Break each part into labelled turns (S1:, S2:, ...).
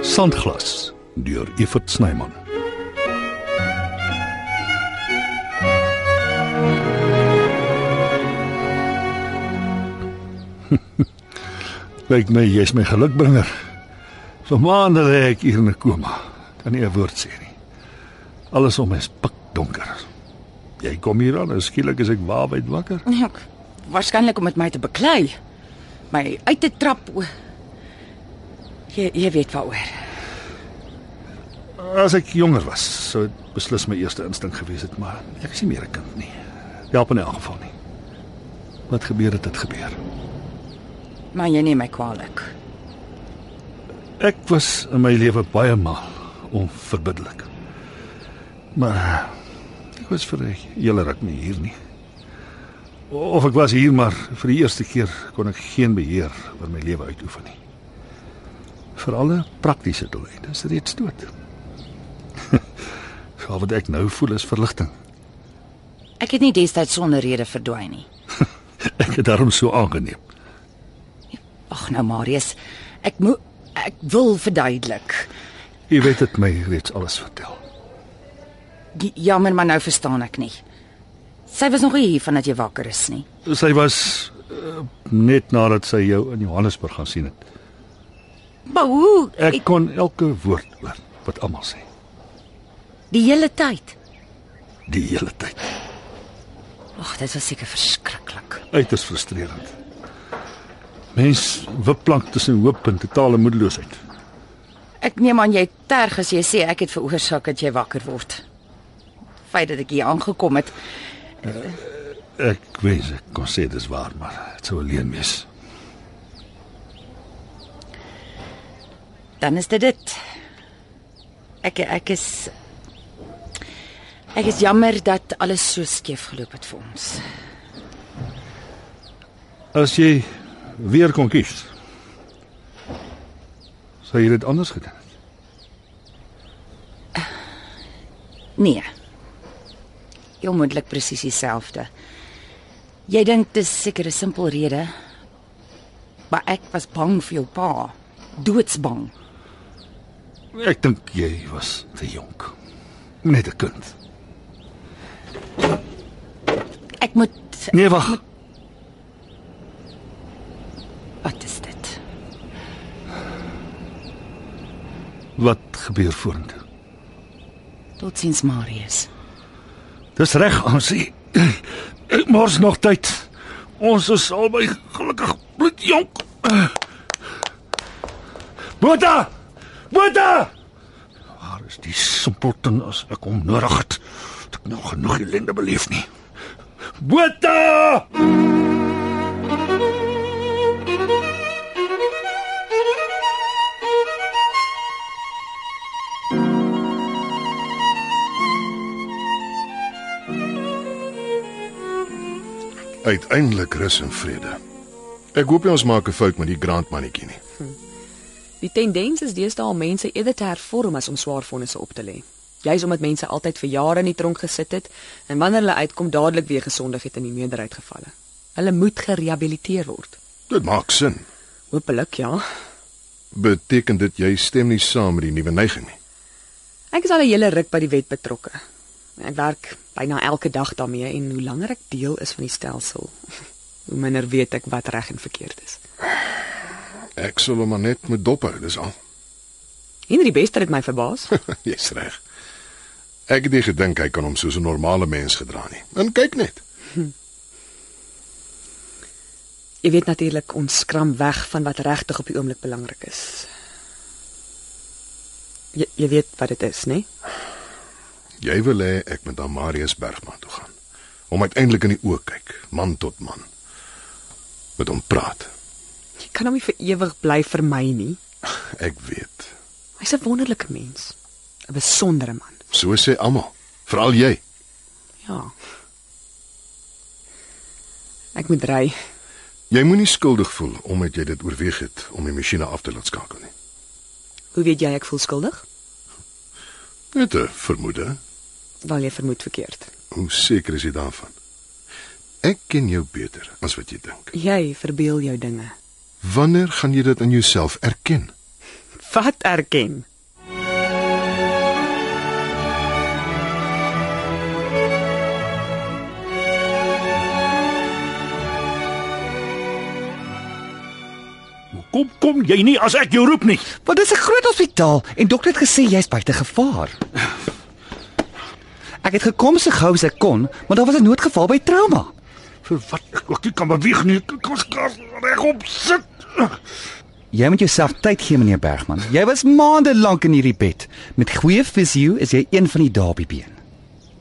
S1: Sandglas deur Evert Snyman. Lyk my jy's my gelukbringer. Vir maande lê ek hier in 'n koma. Kan nie 'n woord sê nie. Alles om my is pikdonker. Jy kom hier aan en skielik is ek waawyd wakker.
S2: Ja, ek- waarskynlik om met my te beklei. My uit te trap. o- Jy jy weet waaroor.
S1: As ek jonger was, sou dit beslis my eerste instink gewees het, maar ek is nie meer 'n kind nie. Help in elk geval nie. Wat gebeur het, dit gebeur.
S2: Maar jy neem my kwaadlik.
S1: Ek was in my lewe baie mal, onverbiddelik. Maar ek was vir 'n hele ruk nie hier nie. Of ek was hier, maar vir die eerste keer kon ek geen beheer oor my lewe uitoefen nie. Vir alle praktiese doeleindes reeds dood. Sal wat ek nou voel is verligting.
S2: Ek het nie destyds sonder rede verdwyn nie.
S1: Ek het daarom so aangeneem.
S2: Ag nou Marius, ek moet ek wil verduidelik.
S1: Jy weet dit my reeds alles vertel.
S2: J- Jammer maar nou verstaan ek nie. Sy was nog nie hier vandat jy wakker is nie.
S1: Sy was uh, net nadat sy jou in Johannesburg gaan sien het.
S2: Maar hoe?
S1: Ek
S2: Ek,
S1: kon elke woord hoor wat almal sê,
S2: die hele tyd.
S1: die hele tyd.
S2: Ag, dit was seker verskriklik.
S1: Uiters frustrerend. Mens wipplank tussen hoop en totale moedeloosheid.
S2: Ek neem aan jy terg as jy sê ek het veroorsaak dat jy wakker word. Feit dat ek hier aangekom het.
S1: Ek wens ek kon sê dis waar, maar dit sou alleen wees.
S2: Dan is dit dit. Ek ek is ek is jammer dat alles so skeef geloop het vir ons.
S1: As jy weer kon kies, sou jy dit anders gedoen het.
S2: Nee. Heel moontlik presies dieselfde. Jy dink dis seker 'n simpel rede. Maar ek was bang vir jou pa. Doodsbang.
S1: Ek dink jy was te jonk. Net 'n kind.
S2: Ek moet
S1: Nee, wag.
S2: wat is dit?
S1: Wat gebeur vorentoe?
S2: Totsiens Marius.
S1: Dis reg, Ansie. Ek mors nog tyd. Ons is albei gelukkig bloedjonk. Bota! Bota! Waar is die simpelton as ek hom nodig het? Het ek nou genoeg ellende beleef nie. Bota!
S3: Uiteindelik rus en vrede. Ek hoop nie ons maak 'n fout met die grand mannetjie nie.
S4: Die tendens is deesdae om mense eerder te hervorm as om swaar vonnisse op te lê. Juis omdat mense altyd vir jare in die tronk gesit het en wanneer hulle uitkom dadelik weer gesondig het in die meerderheid gevalle. Hulle moet gerehabiliteer word.
S3: Dit maak sin.
S4: Hoopelik ja.
S3: Beteken dit jy stem nie saam met die nuwe neiging nie?
S4: Ek is al 'n hele ruk by die wet betrokke. Ek werk byna elke dag daarmee en hoe langer ek deel is van die stelsel, hoe minder weet ek wat reg en verkeerd is.
S3: Ek sal hom maar net met dop hou, dis al.
S4: Henry Bester het my verbaas.
S3: Jy's reg. Ek het nie gedink hy kan hom soos 'n normale mens gedra nie. En kyk net.
S4: Jy weet natuurlik ons skram weg van wat regtig op die oomblik belangrik is. Jy, jy weet wat dit is, né? Nee?
S3: Jy wil hê ek moet aan Marius Bergman toe gaan. Hom uiteindelik in die oë kyk, man tot man. Met hom praat.
S4: Jy kan hom nie vir ewig bly vermy nie.
S3: Ek weet.
S4: Hy's 'n wonderlike mens. 'n Besondere man.
S3: So sê almal, veral jy.
S4: Ja. Ek moet ry.
S3: Jy moenie skuldig voel omdat jy dit oorweeg het om die masjiene af te laat skakel nie.
S4: Hoe weet jy ek voel skuldig?
S3: Net 'n vermoede.
S4: Wel jy vermoed verkeerd.
S3: Hoe seker is jy daarvan? Ek ken jou beter as wat jy dink.
S4: Jy verbeel jou dinge.
S3: Wanneer gaan jy dit aan jouself erken?
S4: Wat erken?
S1: Hoekom kom jy nie as ek jou roep nie?
S5: Want dis 'n groot hospitaal en dokter het gesê jy's buite gevaar. Ek het gekom so gou as ek kon, maar daar was 'n noodgeval by trauma.
S1: Vir wat? Ek, ek kan beweeg nie. Ek kan skaars regop sit.
S5: Jy moet jouself tyd gee, meneer Bergman. Jy was maande lank in hierdie bed. Met goeie fisio is jy een van die dabiebeen.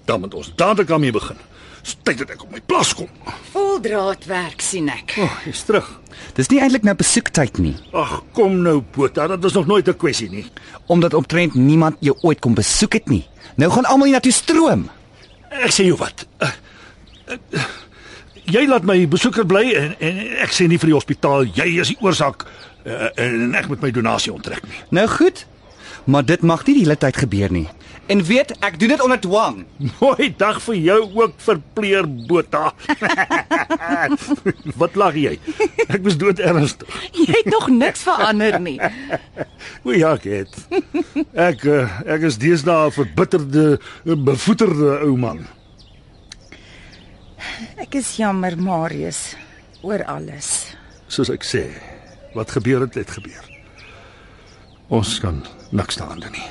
S1: Dan moet ons dadelik daarmee begin. Dis Tyd dat ek op my plaas kom.
S2: Vol draadwerk sien ek.
S1: O, oh, jy's terug.
S5: Dis nie eintlik nou besoektyd nie,
S1: Ag, kom nou, Botha, dit is nog nooit 'n kwessie nie.
S5: omdat omtrent niemand jou ooit kom besoek het nie. Nou gaan almal hiernatoe stroom.
S1: Ek sê jou wat. Uh, uh, uh, Jy laat my besoeker bly en, en ek sê nie vir die hospitaal jy is die oorsaak uh, en ek moet my donasie onttrek nie.
S5: Nou goed, maar dit mag nie die hele tyd gebeur nie. En weet, ek doen dit onder dwang.
S1: Mooi dag vir jou ook verpleer Botha. wat lag jy? Ek was dood ernstig.
S2: Jy het nog niks verander nie.
S1: O ja, ek het. Ek eh, ek is deesdae 'n verbitterde, bevoeterde ou man.
S2: Ek is jammer, Marius, oor alles.
S1: Soos ek sê, wat gebeur het, het gebeur. Ons kan niks daaraan doen nie.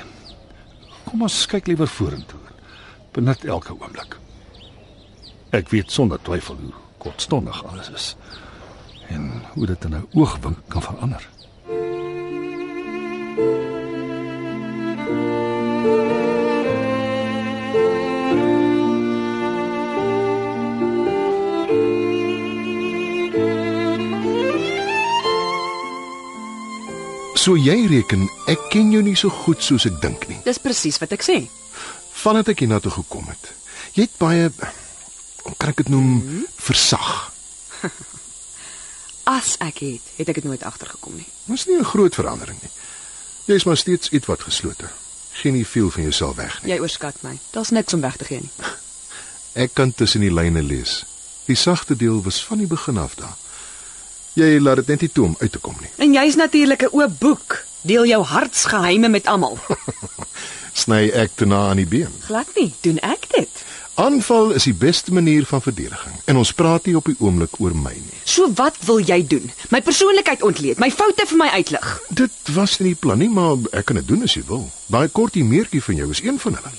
S1: Kom ons kyk liewer vorentoe. Benut elke oomblik. Ek weet sonder twyfel hoe kortstondig alles is en hoe dit in 'n oogwink kan verander.
S3: So jy reken ek ken jou nie so goed soos ek dink nie.
S4: Dis presies wat ek sê.
S3: Vandat ek hiernatoe gekom het. Jy het baie kan ek dit noem versag.
S4: As ek het, het ek dit nooit agtergekom nie.
S3: Dis nie 'n groot verandering nie. Jy is maar steeds ietwat geslote. Geen nie veel van jouself weg nie.
S4: Jy oorskat my. Daar's niks om weg te gee nie.
S3: Ek kan tussen die lyne lees. Die sagte deel was van die begin af daar. Jy laat dit net nie toe om uit te kom nie.
S4: En jy's natuurlik 'n oop boek. Deel jou hartsgeheime met almal.
S3: Sny ek te na aan die been.
S4: Glad nie. Doen ek dit?
S3: Aanval is die beste manier van verdediging en ons praat nie op die oomblik oor my nie.
S4: So wat wil jy doen? My persoonlikheid ontleed, my foute vir my uitlig.
S3: Dit was nie die plan nie, maar ek kan dit doen as jy wil. Daai kortie meertjie van jou is een van hulle.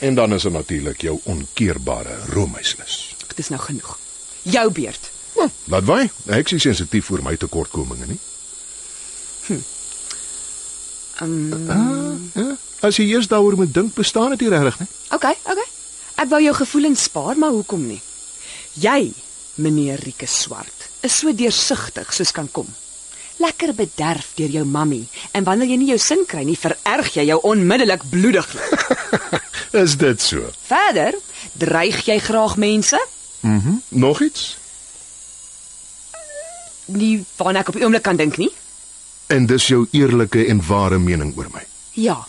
S3: En dan is daar natuurlik jou onkeerbare roomhuislus.
S4: Dit is nou genoeg. Jou beurt.
S3: Hm, laat waai. Ek is nie sensitief vir my tekortkominge nie.
S4: Um,
S3: Ja? As jy eers daaroor moet dink, bestaan dit nie regtig nie.
S4: okay, okay. Ek wou jou gevoelens spaar, maar hoekom nie? Jy, meneer Rike Swart, is so deursigtig soos kan kom. Lekker bederf deur jou mammie en wanneer jy nie jou sin kry nie, vererg jy jou onmiddellik bloediglik.
S3: Is dit so?
S4: Verder dreig jy graag mense?
S3: Mhm. Mm Nog iets?
S4: Nie waarna ek op die oomblik kan dink nie.
S3: En dis jou eerlike en ware mening oor my.
S4: Ja.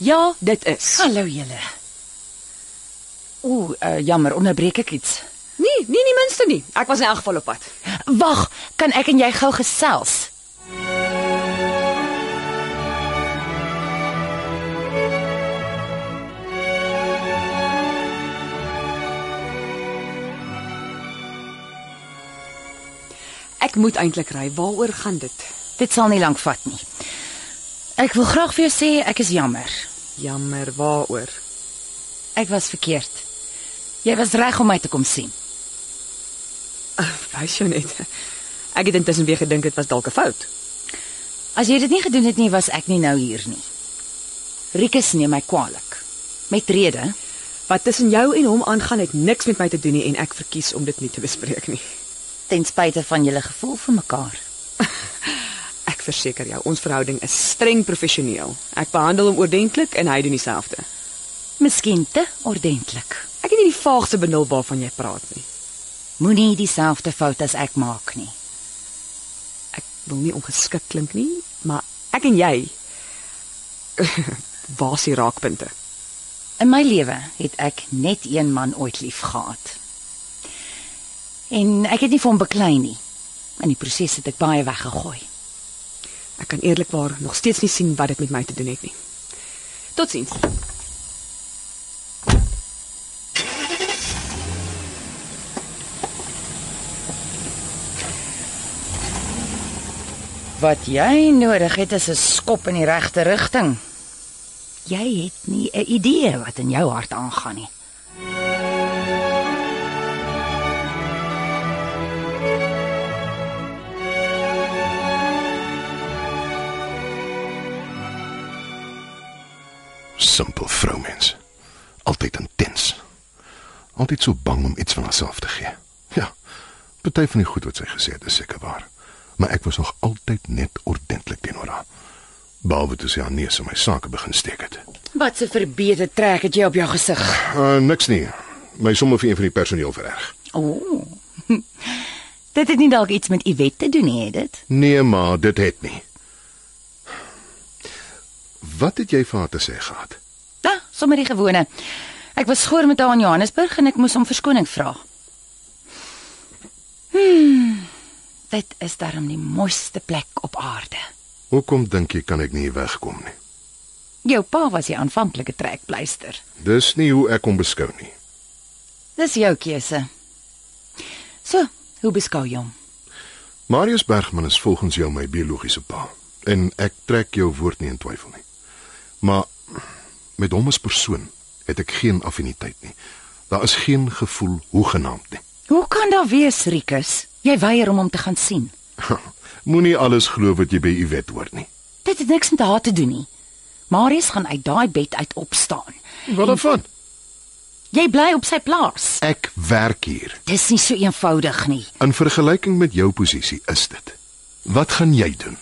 S4: Ja, dit is.
S2: Hallo julle. Ooh, uh, jammer, onderbreek ek iets.
S4: Nee, nee nie minste nie. Ek was in elk geval op pad.
S2: Wag, kan ek en jy gou gesels?
S4: Ek moet eintlik ry. Waaroor gaan dit?
S2: Dit sal nie lank vat nie. Ek wil graag vir jou sê ek is jammer.
S4: Jammer, waaroor?
S2: Ek was verkeerd. Jy was reg om my te kom sien.
S4: Wys jou net. Ek het intussen weer gedink dit was dalk 'n fout.
S2: As jy dit nie gedoen het nie, was ek nie nou hier nie. Rikus neem my kwaadlik. Met rede.
S4: Wat tussen jou en hom aangaan het niks met my te doen nie en ek verkies om dit nie te bespreek nie.
S2: ten spyte van julle gevoel vir mekaar.
S4: Ek verseker jou, ons verhouding is streng professioneel. Ek behandel hom oordentlik en hy doen dieselfde.
S2: Miskien te ordentlik.
S4: Ek het nie die vaagste benul waarvan jy praat nie.
S2: Moenie dieselfde fout as ek maak nie.
S4: Ek wil nie ongeskik klink nie, maar ek en jy waar is die raakpunte?
S2: In my lewe het ek net een man ooit lief gehad. En ek het nie vir hom beklei nie. In die proses het ek baie weggegooi.
S4: Ek kan eerlikwaar nog steeds nie sien wat dit met my te doen het nie. Totsiens.
S2: Wat jy nodig het is 'n skop in die regte rigting. Jy het nie 'n idee wat in jou hart aangaan nie.
S3: Simpel vroumens. Altyd intens. Altyd so bang om iets van haarself te gee. Ja. Party van die goed wat sy gesê het is seker waar. Maar ek was nog altyd net ordentlik teenoor haar. Behalwe toe sy haar neus in my sake begin steek het.
S2: Wat 'n verbeede trek het jy op jou gesig.
S3: Uh, niks nie. My sommer vir een van die personeel vererg.
S2: O. Oh. Dit het nie dalk iets met Iwet te doen nie, het dit?
S3: Nee, maar dit het nie. Wat het jy vir haar te sê gehad?
S2: Ja, sommer die gewone. Ek was skoor met haar in Johannesburg en ek moes om verskoning vra. Hm. Hmm, Dit is darm die mooiste plek op aarde.
S3: Hoekom dink jy kan ek nie hier wegkom nie?
S2: Jou pa was die aanvanklike trekpleister.
S3: Dis nie hoe ek hom beskou nie.
S2: Dis jou keuse. So, hoe beskou jy hom?
S3: Marius Bergman is volgens jou my biologiese pa en ek trek jou woord nie in twyfel nie. Maar met hom as persoon het ek geen affiniteit nie. Daar is geen gevoel hoegenaamd nie.
S2: Hoe kan daar wees, Rikus? Jy weier om hom te gaan sien.
S3: Moenie alles glo wat jy by Iwet hoor nie.
S2: Dit het niks met haar te doen nie. Marius gaan uit daai bed uit opstaan.
S3: Wat daarvan?
S2: Jy bly op sy plaas.
S3: Ek werk hier.
S2: Dis nie so eenvoudig nie.
S3: In vergelyking met jou posisie is dit. Wat gaan jy doen?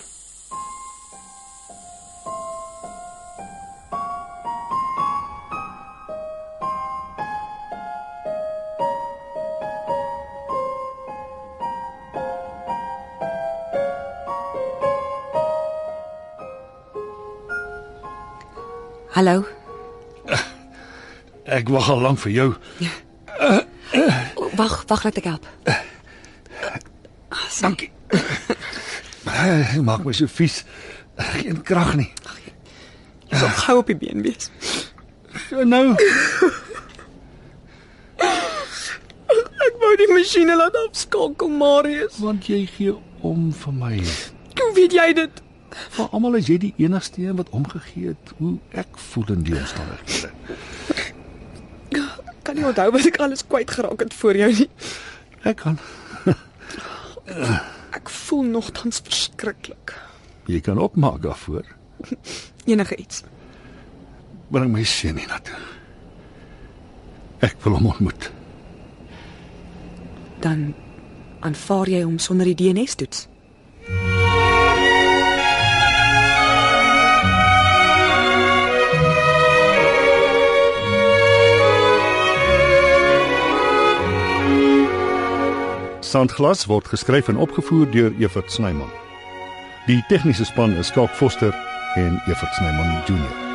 S4: Hallo.
S1: Ek wag al lank vir jou.
S4: O, Wag, wag, laat ek help.
S1: Dankie. Maar hy maak my so vies. Geen krag nie.
S4: Ek sal gou op die been wees.
S1: Nou,
S4: Ek wou die masjiene laat afskakel, Marius.
S1: want jy gee om vir my.
S4: Hoe weet jy dit?
S1: Vir almal is jy die enigste een wat omgegee het hoe ek voel in die omstandighede.
S4: Ek kan nie onthou wat ek alles kwyt geraak het voor jou nie.
S1: Ek kan.
S4: Ek voel nogtans verskriklik.
S1: Jy kan opmaak daarvoor.
S4: Enige iets.
S1: Bring my seun hiernatoe. Ek wil hom ontmoet.
S4: Dan aanvaar jy hom sonder die DNS-toets.
S1: Sandglas word geskryf en opgevoer deur Evert Snyman. Die tegniese span is Skalk Foster en Evert Snyman Junior.